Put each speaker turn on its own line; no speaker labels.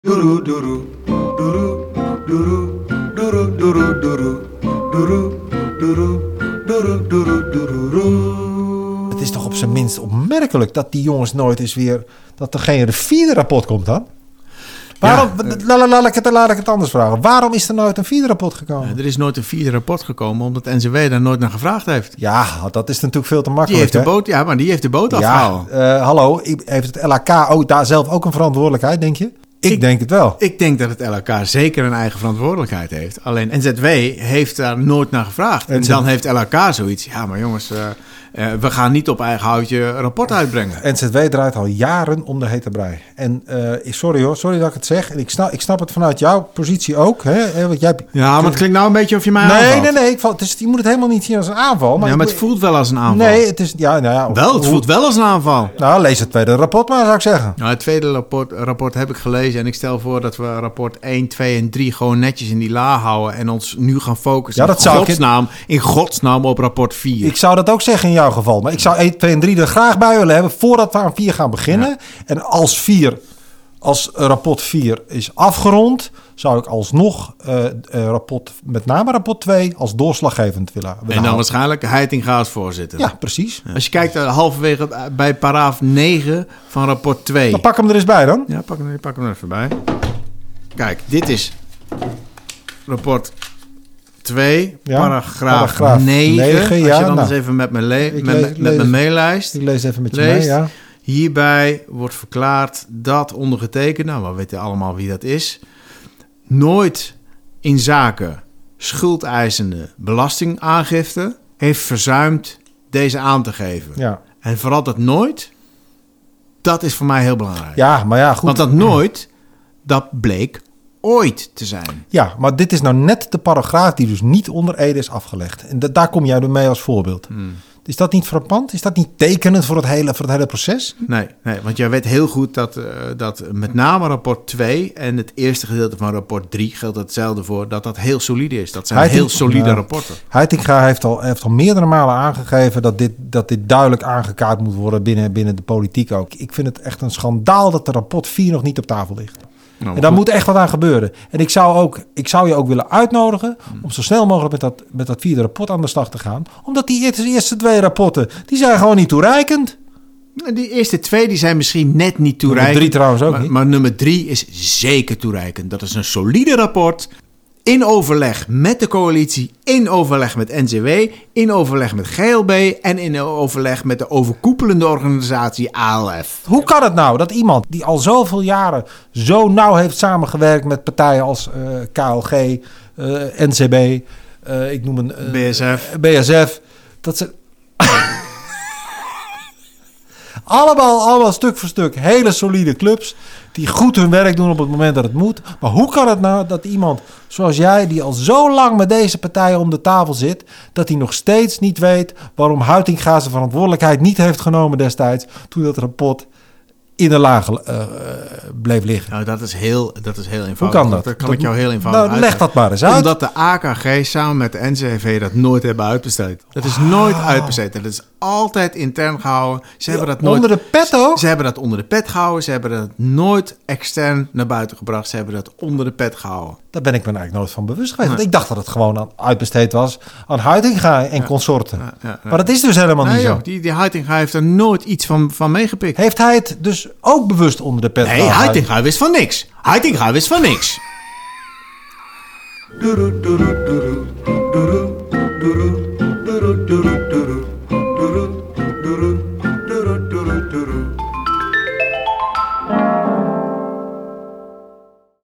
Doeroe, doeroe, doeroe, doeroe, doeroe, doeroe, doeroe, doeroe, doeroe, doeroe, doeroe, doeroe.
Het is toch op zijn minst opmerkelijk dat die jongens nooit eens weer... dat er geen vierde rapport komt dan? Waarom, la- la- laat, ik het, laat ik het anders vragen. Waarom is er nooit een vierde rapport gekomen?
Er is nooit een vierde rapport gekomen omdat NCW daar nooit naar gevraagd heeft.
Ja, dat is natuurlijk veel te
Die
makkelijk.
heeft de
hè?
boot, ja, maar die heeft de boot
Ja,
afgehaald.
eh, hallo. ik- Heeft het LHK ook daar zelf ook een verantwoordelijkheid, denk je? Ik,
Ik-
denk het wel.
Ik denk dat het LK zeker een eigen verantwoordelijkheid heeft. Alleen NZW heeft daar nooit naar gevraagd. En
NZW.
dan heeft LK zoiets. Ja, maar jongens, eh, eh, we gaan niet op eigen houtje een rapport uitbrengen.
NZW draait al jaren om de hete brei. En eh, sorry hoor, sorry dat ik het zeg. En ik snap, ik snap het vanuit jouw positie ook. Hè? hè, Want jij...
Ja, maar het klinkt nou een beetje of je mij
Nee,
aanvalt.
nee, nee. Ik val, het is, je moet het helemaal niet zien als een aanval. Maar
Ja,
ik
maar
moet-
het voelt wel als een aanval.
Nee, het is... Ja, nou ja,
Wel, het
hoe-
voelt wel als een aanval.
Nou, lees het tweede rapport maar, zou ik zeggen.
Nou, het tweede rapport, rapport heb ik gelezen en ik stel voor dat we rapport 1, 2 en 3 gewoon netjes in die la houden en ons nu gaan focussen
Ja, dat
in,
zou ik-
godsnaam, in godsnaam op rapport 4.
Ik zou dat ook zeggen in jouw geval. Maar ik zou E 1, 2 en 3 er graag bij willen hebben voordat we aan 4 gaan beginnen. En als 4, als rapport 4 is afgerond, zou ik alsnog eh, eh, rapport, met name rapport 2 als doorslaggevend willen. willen
en dan
houden.
waarschijnlijk Heitinga als voorzitter.
Nou. Ja, precies.
Als je kijkt eh, halverwege eh, bij paragraaf 9 van rapport 2.
Dan pak hem er eens bij dan.
Ja, pak hem, pak hem er even bij. Kijk, dit is rapport 2,
Ja,
paragraaf,
paragraaf
9.
negen,
Als
ja,
je dan
nou.
eens even met mijn, le-
Ik
met,
le-
met
lees-
mijn meelijst.
Ik lees even met je
Leest.
mee. Ja.
Hierbij wordt verklaard dat ondergetekende, nou, we weten allemaal wie dat is, nooit in zaken schuldeisende belastingaangifte heeft verzuimd deze aan te geven.
Ja.
En vooral dat nooit, dat is voor mij heel belangrijk.
ja, maar ja, goed.
Want dat nooit, dat bleek ooit te zijn.
Ja, maar dit is nou net de paragraaf die dus niet onder Ede is afgelegd. En da- daar kom jij door mee als voorbeeld.
Hmm.
Is dat niet frappant? Is dat niet tekenend voor het hele, voor het hele proces?
Nee, nee, want jij weet heel goed dat, eh, dat met name rapport 2 en het eerste gedeelte van rapport 3 geldt hetzelfde voor, dat dat heel solide is. Dat zijn
Hij
heel
denkt-
solide
Ja.
rapporten.
Heitinga heeft al, heeft al meerdere malen aangegeven dat dit, dat dit duidelijk aangekaart moet worden binnen, binnen de politiek ook. Ik vind het echt een schandaal dat de rapport 4 nog niet op tafel ligt.
Nou,
en daar
goed.
moet echt wat aan gebeuren. En ik zou, ook, ik zou je ook willen uitnodigen
Hmm.
om zo snel mogelijk met dat, met dat vierde rapport aan de slag te gaan. Omdat die eerste, eerste twee rapporten, die zijn gewoon niet toereikend.
Die eerste twee die zijn misschien net niet toereikend.
Nummer drie trouwens ook
maar,
niet.
Maar nummer drie is zeker toereikend. Dat is een solide rapport. In overleg met de coalitie, in overleg met NCW, in overleg met GLB en in overleg met de overkoepelende organisatie ALF.
Hoe kan het nou dat iemand die al zoveel jaren zo nauw heeft samengewerkt met partijen als eh, KLG, eh, NCB, eh, ik noem een eh,
BSF.
BSF, dat ze allemaal, allemaal stuk voor stuk hele solide clubs die goed hun werk doen op het moment dat het moet. Maar hoe kan het nou dat iemand zoals jij, die al zo lang met deze partijen om de tafel zit, dat hij nog steeds niet weet waarom Huitinga zijn verantwoordelijkheid niet heeft genomen destijds toen dat rapport in de laag eh, eh, bleef liggen?
Nou, dat is heel, dat is heel eenvoudig.
kan dat?
kan ik
Dat-
jou heel eenvoudig
Nou, leg
uitleggen.
dat maar eens uit.
Omdat de AKG samen met de NCV dat nooit hebben uitbesteed. Dat is nooit
Ah.
uitbesteed. Dat is altijd intern gehouden. Ze hebben dat nooit...
Onder de pet ook?
Ze hebben dat onder de pet gehouden. Ze hebben dat nooit extern naar buiten gebracht. Ze hebben dat onder de pet gehouden.
Daar ben ik me eigenlijk nooit van bewust geweest. Want ik dacht dat het gewoon aan, uitbesteed was aan Huitinga en consorten.
ja, ja.
Maar dat is dus helemaal
Nee,
niet zo.
joh, die, die Heitinga heeft er nooit iets van, van meegepikt.
Heeft hij het dus ook bewust onder de pet
Nee, Heitinga wist van niks. Heitinga wist van niks.
Doeroe, doeroe, doeroe,